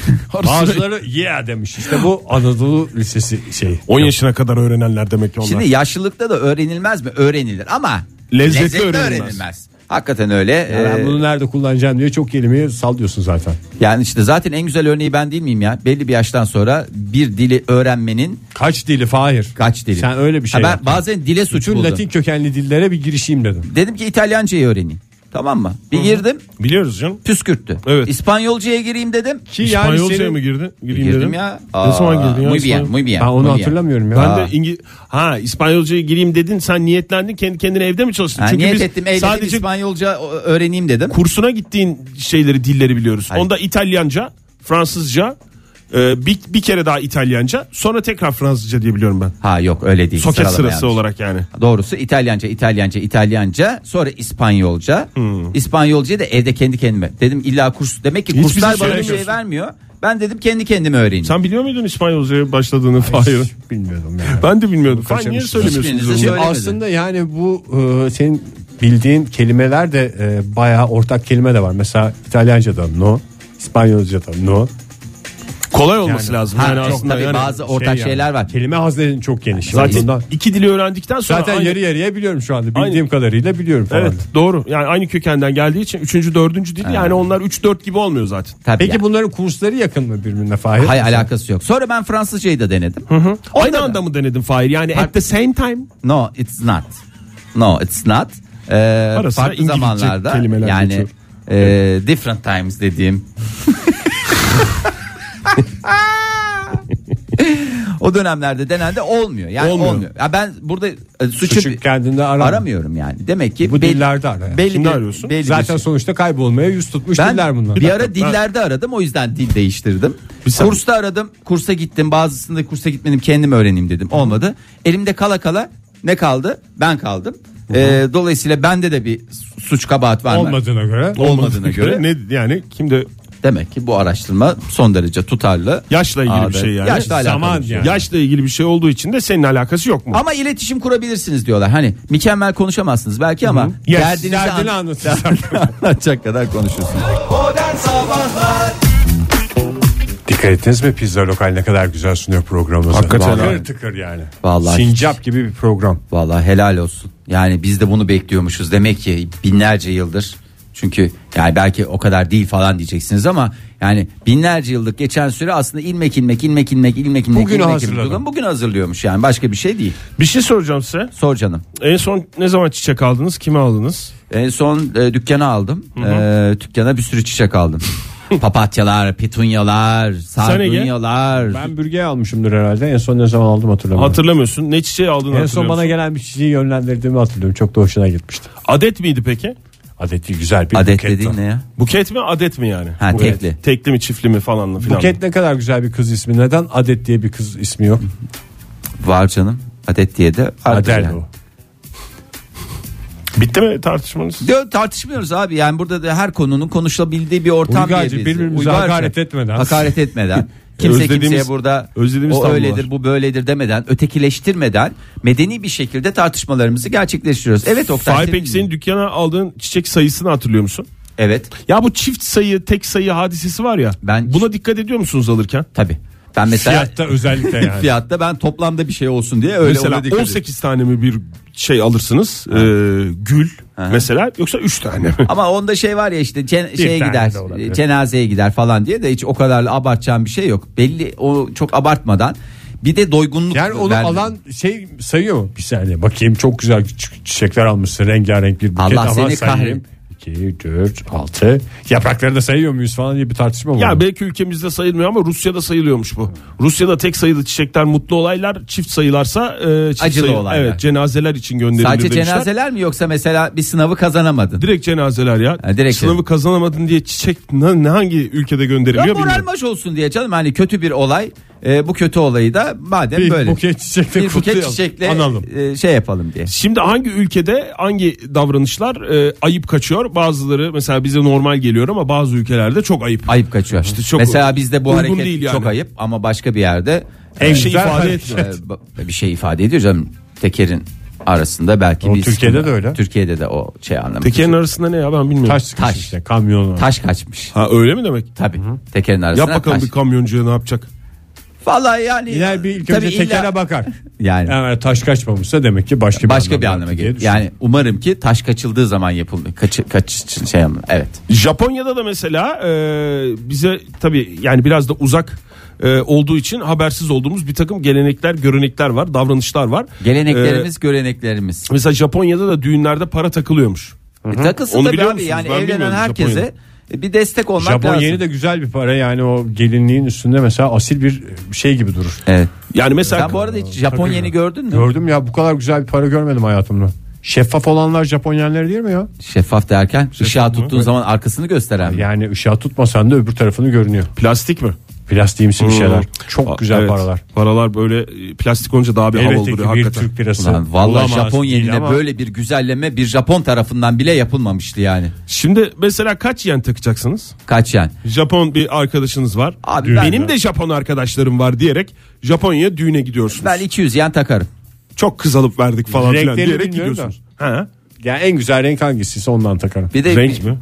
Bazıları yeah demiş. İşte bu Anadolu Lisesi şey. şeyi. 10 yaşına kadar öğrenenler demek ki onlar. Şimdi yaşlılıkta da öğrenilmez mi? Öğrenilir ama Lezzetli lezzetli öğrenilmez. Hakikaten öyle. Yani ben Ee, bunu nerede kullanacağım diye çok kelimeyi sallıyorsun zaten. Yani işte zaten en güzel örneği ben değil miyim ya? Belli bir yaştan sonra bir dili öğrenmenin Kaç dili Fahir? kaç dili? Sen öyle bir şey Ha ben yaptın. bazen dile suç Bütün buldum. Latin kökenli dillere bir girişeyim dedim. Dedim ki İtalyancayı öğreneyim. Tamam mı? Bir girdim Biliyoruz canım. püskürttü. Evet. İspanyolcaya gireyim dedim. Ki yani İspanyolcaya senin... mı girdi? Gireyim Girdim dedim. ya. Ne zaman girdin ya? Muy bien, İspanyol- muy bien. Ben onu muy bien. hatırlamıyorum ya. Ben de İngiliz ha İspanyolcaya gireyim dedin sen niyetlendin kendi kendine evde mi çalıştın? Ha, Çünkü niyet biz ettim eyledim sadece İspanyolca ö- öğreneyim dedim. kursuna gittiğin şeyleri dilleri biliyoruz. Hayır. Onda İtalyanca, Fransızca, e, bir, bir kere daha İtalyanca, sonra tekrar Fransızca diye biliyorum ben. Ha yok öyle değil. Soket Sıralama sırası yanlış. olarak yani. Doğrusu İtalyanca, İtalyanca, İtalyanca sonra İspanyolca. İspanyolca da evde kendi kendime. Dedim illa kurs demek ki bize kurslar bana bir şey söylemiyorsun. vermiyor. Ben dedim kendi kendime öğreneyim. Sen biliyor muydun İspanyolcaya başladığını Hayır. Bilmiyordum yani. Ben de bilmiyordum. Fahir niye kaçırmışsın. söylemiyorsunuz? Hiçbirinize onu? Şimdi Söylemedi. aslında yani bu e, senin bildiğin kelimeler de e, bayağı ortak kelime de var. Mesela İtalyanca'da no, İspanyolca'da no. Kolay olması Yani- lazım. Ha, yani çok aslında tabii yani bazı ortak Şey yani, şeyler var. Kelime haznenin çok geniş. zaten Bundan- iki dili öğrendikten sonra zaten aynı- yarı yarıya biliyorum şu anda. Bildiğim Aynı. kadarıyla biliyorum falan. Evet doğru. Yani aynı kökenden geldiği için üçüncü dördüncü dil yani onlar üç dört gibi olmuyor zaten. Tabii Peki yani. bunların kursları yakın mı birbirine Fahir? Hayır alakası yok. Sonra ben Fransızcayı da denedim. Aynı anda mı denedin Fahir? Yani at the same time. No it's not. No it's not. Ee, Ara sıra farklı İngilizce zamanlarda kelimeler yani geçiyor. e, different times dediğim o dönemlerde denendi olmuyor. Yani olmuyor. Olmuyor. Ya ben burada e, suçu, Suçu kendinde arama. aramıyorum yani. Demek ki Bu belli- dillerde ara. belli Kimde bir- arıyorsun? belli bir Zaten şey. sonuçta kaybolmaya yüz tutmuş ben diller bunlar. bir ara dillerde aradım o yüzden dil değiştirdim. saniye. Kursta aradım kursa gittim bazısında kursa gitmedim kendim öğreneyim dedim olmadı. Elimde kala kala ne kaldı ben kaldım. Ee, dolayısıyla bende de bir suç kabahat var mı? olmadığına göre. Olmadığına göre ne yani kimde demek ki bu araştırma son derece tutarlı. yaşla ilgili Aa, bir şey evet. yani. Yaşla alakalı Zaman bir şey. yani. Yaşla ilgili bir şey olduğu için de senin alakası yok mu? Ama iletişim kurabilirsiniz diyorlar. Hani mükemmel konuşamazsınız belki ama Yes, derdinizi derdini an- anlatırsın. anlatacak kadar konuşursunuz. Dikkat ettiniz mi pizza lokal ne kadar güzel sunuyor programımızı. Hakikaten Tıkır abi. tıkır yani. Vallahi. Sincap gibi bir program. Vallahi helal olsun. Yani biz de bunu bekliyormuşuz demek ki binlerce yıldır. Çünkü yani belki o kadar değil falan diyeceksiniz ama yani binlerce yıllık geçen süre aslında ilmek ilmek ilmek ilmek ilmek ilmek Bugünü ilmek hazırladım. ilmek- bugün hazırlıyormuş yani başka bir şey değil. Bir şey soracağım size. Sor canım. En son ne zaman çiçek aldınız? Kime aldınız? En son e, dükkana aldım. E, dükkana bir sürü çiçek aldım. Papatyalar, petunyalar, sardunyalar. Ben bürgeye almışımdır herhalde. En son ne zaman aldım hatırlamıyorum. Hatırlamıyorsun. Ne çiçeği aldın en son bana gelen bir çiçeği yönlendirdiğimi hatırlıyorum. Çok da hoşuna gitmişti. Adet miydi peki? Adeti güzel bir Adet buket. dediğin ne ya? Buket mi adet mi yani? Ha, Buket. tekli. Tekli mi çiftli mi falan mı filan. Buket ne kadar güzel bir kız ismi. Neden Adet diye bir kız ismi yok? Var canım. Adet diye de vardır Adel yani. o. Bitti mi tartışmanız? Diyor, tartışmıyoruz abi yani burada da her konunun konuşulabildiği bir ortam Uygarcı, diye biz- birbirimize Uygarca. hakaret etmeden. Hakaret etmeden. Kimse Özlediğimiz- kimseye burada özlediğimiz o tablolar. öyledir bu böyledir demeden ötekileştirmeden medeni bir şekilde tartışmalarımızı gerçekleştiriyoruz. Evet Oktay. Fahir senin- peki senin dükkana aldığın çiçek sayısını hatırlıyor musun? Evet Ya bu çift sayı tek sayı hadisesi var ya. Ben- Buna dikkat ediyor musunuz alırken? tabi. Ben mesela Fiyatta özellikle yani. fiyatta ben toplamda bir şey olsun diye öyle ona dikkat mesela ediyorum. 18 tane mi bir şey alırsınız? Ee, gül mesela yoksa 3 tane mi? Ama onda şey var ya işte cen- şeye tane gider de olabilir. e, cenazeye gider falan diye de hiç o kadar abartacağım bir şey yok. Belli o çok abartmadan bir de doygunluk Yani onu vermiyor. alan şey sayıyor mu? Bir saniye bakayım çok güzel çi- çiçekler almışsın rengarenk bir buket Allah ama seni sayayım. 2, 4, 6 yaprakları da sayıyor muyuz falan diye bir tartışma var. Ya belki ülkemizde sayılmıyor ama Rusya'da sayılıyormuş bu. Rusya'da tek sayılı çiçekler mutlu olaylar, çift sayılarsa e, çift Acılı sayı- olaylar. Evet, cenazeler için gönderilir Sadece demişler. cenazeler mi yoksa mesela bir sınavı kazanamadın? Direkt cenazeler ya. Ha, direkt Sınavı yani. kazanamadın diye çiçek ne, ne hangi ülkede Ya gönderiliyor moral bilmiyorum. maç olsun diye canım hani kötü bir olay e, bu kötü olayı da madem bir böyle buket çiçekle bir buket kutlayalım. çiçekle Analım. e, şey yapalım diye. Şimdi hangi ülkede hangi davranışlar e, ayıp kaçıyor? Bazıları mesela bize normal geliyor ama bazı ülkelerde çok ayıp. Ayıp kaçıyor. İşte çok mesela bizde bu uygun hareket değil yani. çok ayıp ama başka bir yerde En şey güzel ifade hareket. etmiyor. e, ba- bir şey ifade ediyor canım tekerin arasında belki O bir Türkiye'de sıkıntı- de öyle. Türkiye'de de o şey anlamı. Tekerin arasında ne ya ben bilmiyorum. Taş sıkış Taş. işte kamyonu. Taş kaçmış. Ha öyle mi demek? Tabii. Tekerin arasına Yap bakalım taş. bir kamyoncuya ne yapacak? Vallahi yani İler bir ilk tabii önce illa- tekere bakar. Yani Yani taş kaçmamışsa demek ki başka bir başka bir anlam anlama vardı diye geliyor. düşünüyorum. Yani umarım ki taş kaçıldığı zaman yapıldı. Kaç kaç şey anlamı. Evet. Japonya'da da mesela e, bize tabii yani biraz da uzak e, olduğu için habersiz olduğumuz bir takım gelenekler, görenekler var, davranışlar var. Geleneklerimiz, göreneklerimiz. E, mesela Japonya'da da düğünlerde para takılıyormuş. E, takılsın Onu tabii biliyor abi musunuz? yani Ben evlenen bilmiyordum herkese Japonya'da. e, bir destek olmak Japon lazım. yeni de güzel bir para yani o gelinliğin üstünde mesela asil bir şey gibi durur. Evet. Yani mesela Sen bu arada hiç Japon yeni gördün mü? Gördüm ya bu kadar güzel bir para görmedim hayatımda. Şeffaf olanlar Japon yenileri değil mi ya? Şeffaf derken ışığa tuttuğun zaman arkasını gösteren. mi? Yani ışığa tutmasan da öbür tarafını görünüyor. plastik mi? Plastiğimsi Hmm. bir şeyler. Aa, Hmm. Çok güzel evet. paralar. Paralar böyle e, plastik olunca daha bir hava Elbette oluyor ki bir hakikaten. Türk pirası. Ulan vallahi olamaz Japon değil yenine ama böyle bir güzelleme bir Japon tarafından bile yapılmamıştı yani. Şimdi mesela kaç yen takacaksınız? Kaç yani? Japon bir arkadaşınız var. Abi ben- Benim de Japon arkadaşlarım var diyerek Japonya'ya düğüne gidiyorsunuz. Ben 200 yen takarım. Çok kız alıp verdik falan filan Renklerini diyerek bilmiyorum gidiyorsunuz. Ha. Yani en güzel renk hangisiyse ondan takarım. Bir de Renk mi?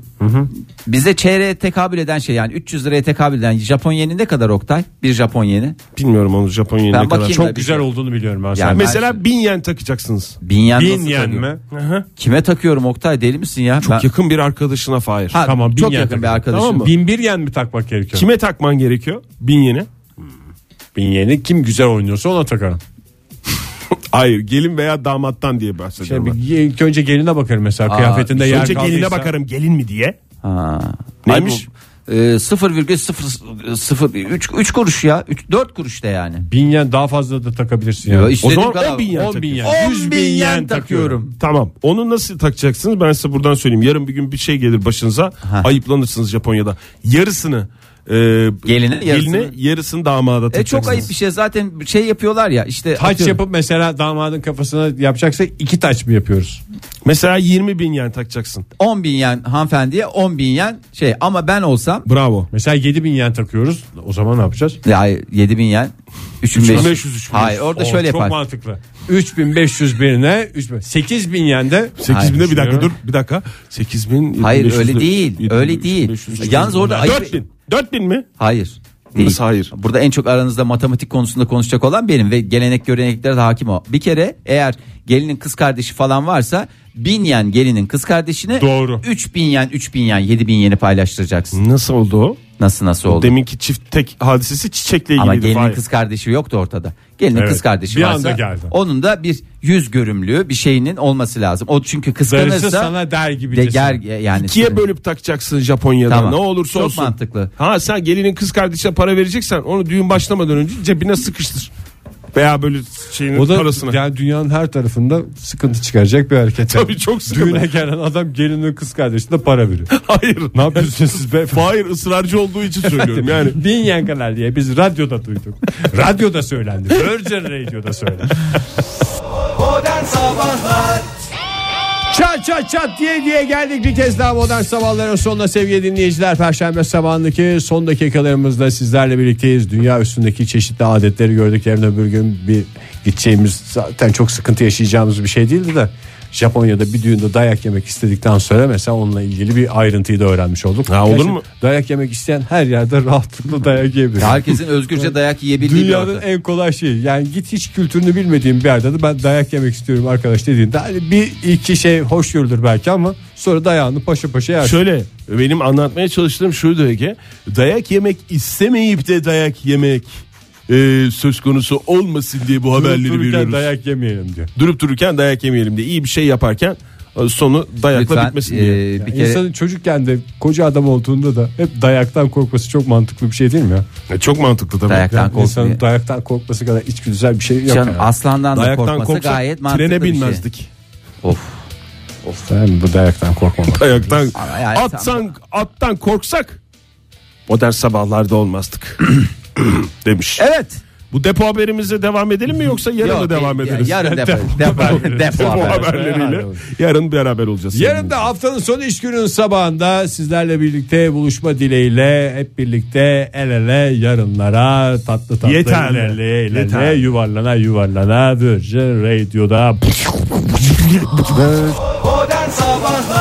bize çeyreğe tekabül eden şey yani 300 liraya tekabül eden Japon yeni ne kadar Oktay? Bir Japon yeni. Bilmiyorum onu Japonya'ya Ben ne kadar. bakayım. Çok bir güzel şey. olduğunu biliyorum ben. Yani Yani Mesela bin yen takacaksınız. Bin yen Bin nasıl yen takıyorum? mi? Kime takıyorum Oktay deli misin ya? Çok Ben- yakın bir arkadaşına Fahir. Ha, Tamam bin çok yen yakın bir takarım. arkadaşım. Tamam mı? Bin bir yen mi takmak gerekiyor? Kime takman gerekiyor? Bin yeni. Bin yeni kim güzel oynuyorsa ona takarım. Hayır gelin veya damattan diye bahsediyorum. Yani ben. bir- ilk önce geline bakarım mesela kıyafetinde yer Önce kaldıysa. geline bakarım gelin mi diye. Ha. Neymiş? Ay bu- e, 0,003 3 kuruş ya. 3 4 kuruş da yani. Bin yen daha fazla da takabilirsin. Ya Yani. işte- O Dedim zaman kadar- 10 bin yen 10 bin yen. takıyorsun. 10 bin yen takıyorum. Tamam. Onu nasıl takacaksınız? Ben size buradan söyleyeyim. Yarın bir gün bir şey gelir başınıza. Ayıplanırsınız Japonya'da. Yarısını e, Gelinin yarısını. yarısını. yarısını damada E takacaksınız. çok ayıp bir şey zaten şey yapıyorlar ya işte Taç atıyorum. yapıp mesela damadın kafasına yapacaksak iki taç mı yapıyoruz? Mesela 20 bin yen takacaksın. 10 bin yen hanımefendiye 10 bin yen şey ama ben olsam Bravo. Mesela 7 bin yen takıyoruz. O zaman ne yapacağız? ya 7 bin yen 3500 3500, Hayır orada Oh, O şöyle çok yapar. mantıklı. 3500 birine 8 bin yen de 8 Hayır, bine bir dakika dur düşünüyorum. bir dakika. 8 bin. Hayır, öyle değil, öyle değil. Yalnız orada ayıp- 4 bin. 4 bin mi? Hayır. Değil. Nasıl hayır? Burada en çok aranızda matematik konusunda konuşacak olan benim ve gelenek göreneklere de hakim o. Bir kere eğer gelinin kız kardeşi falan varsa bin yen gelinin kız kardeşine Doğru. Hmm. 3000 yen 3000 yen 7000 yeni paylaştıracaksın. Nasıl oldu o? Nasıl nasıl oldu? Deminki çift tek hadisesi çiçekle ilgili. Ama gelinin kız kardeşi yoktu ortada. Gelinin Evet, kız kardeşi bir varsa anda geldi. onun da bir yüz görümlüğü bir şeyinin olması lazım. O çünkü darısı kıskanırsa sana der gibi. de ger yani İkiye bölüp takacaksın Japonya'da Tamam. ne olursa Çok olsun. mantıklı. Ha sen gelinin kız kardeşine para vereceksen onu düğün başlamadan önce cebine sıkıştır. Veya böyle şeyin O da parasını. yani dünyanın her tarafında sıkıntı çıkaracak bir hareket. yani. Tabii çok sıkıntı. Düğüne gelen adam gelinin kız kardeşine para veriyor. Hayır. ne yapıyorsunuz siz beyefendi? Hayır ısrarcı olduğu için söylüyorum yani. Bin yankılar diye biz radyoda duyduk. radyoda söylendi. Virgin Radio'da söylendi. Çat çat çat diye diye geldik bir kez daha modern sabahların sonuna sevgili dinleyiciler. Perşembe sabahındaki son dakikalarımızda sizlerle birlikteyiz. Dünya üstündeki çeşitli adetleri gördük. Yarın öbür gün bir gideceğimiz zaten çok sıkıntı yaşayacağımız bir şey değildi de. Japonya'da bir düğünde dayak yemek istedikten sonra mesela onunla ilgili bir ayrıntıyı da öğrenmiş olduk. Ha, olur Gerçi mu? Dayak yemek isteyen her yerde rahatlıkla dayak yiyebilir. herkesin özgürce dayak yiyebildiği bir Dünyanın ortam. en kolay şeyi. Yani git hiç kültürünü bilmediğin bir yerde de ben dayak yemek istiyorum arkadaş dediğinde hani bir iki şey hoş görülür belki ama sonra dayağını paşa paşa yersin. Şöyle benim anlatmaya çalıştığım şuydu Ege. Dayak yemek istemeyip de dayak yemek e, söz konusu olmasın diye bu Durup haberleri dururken veriyoruz. dayak yemeyelim diyor. Durup dururken dayak yemeyelim diye iyi bir şey yaparken e, sonu dayakla Lütfen, bitmesin e, diye. bir Yani kere İnsanın çocukken de koca adam olduğunda da hep dayaktan korkması çok mantıklı bir şey değil mi ya? E, Çok mantıklı tabii. Dayaktan Yani korkmuyor. insanın dayaktan korkması kadar içgüdüsel bir şey yok. Canım, yani. aslandan da Dayaktan korkması korksak gayet mantıklı trene bir şey. binmezdik. Of. Ben bu dayaktan korkmamak. Ayaktan Ama yani atsan attan korksak modern sabahlarda olmazdık. demiş. Evet. Bu depo haberimize devam edelim mi yoksa yarın Yok, da devam ya- ederiz? Yarın depo, depo, depo, Depo haber. haberleriyle yarın beraber olacağız. Yarın da haftanın son iş gününün sabahında sizlerle birlikte buluşma dileğiyle hep birlikte el ele yarınlara tatlı tatlı Yeter. ilerleye ilerleye Yeter. yuvarlana yuvarlana Virgin Radio'da Modern Sabahlar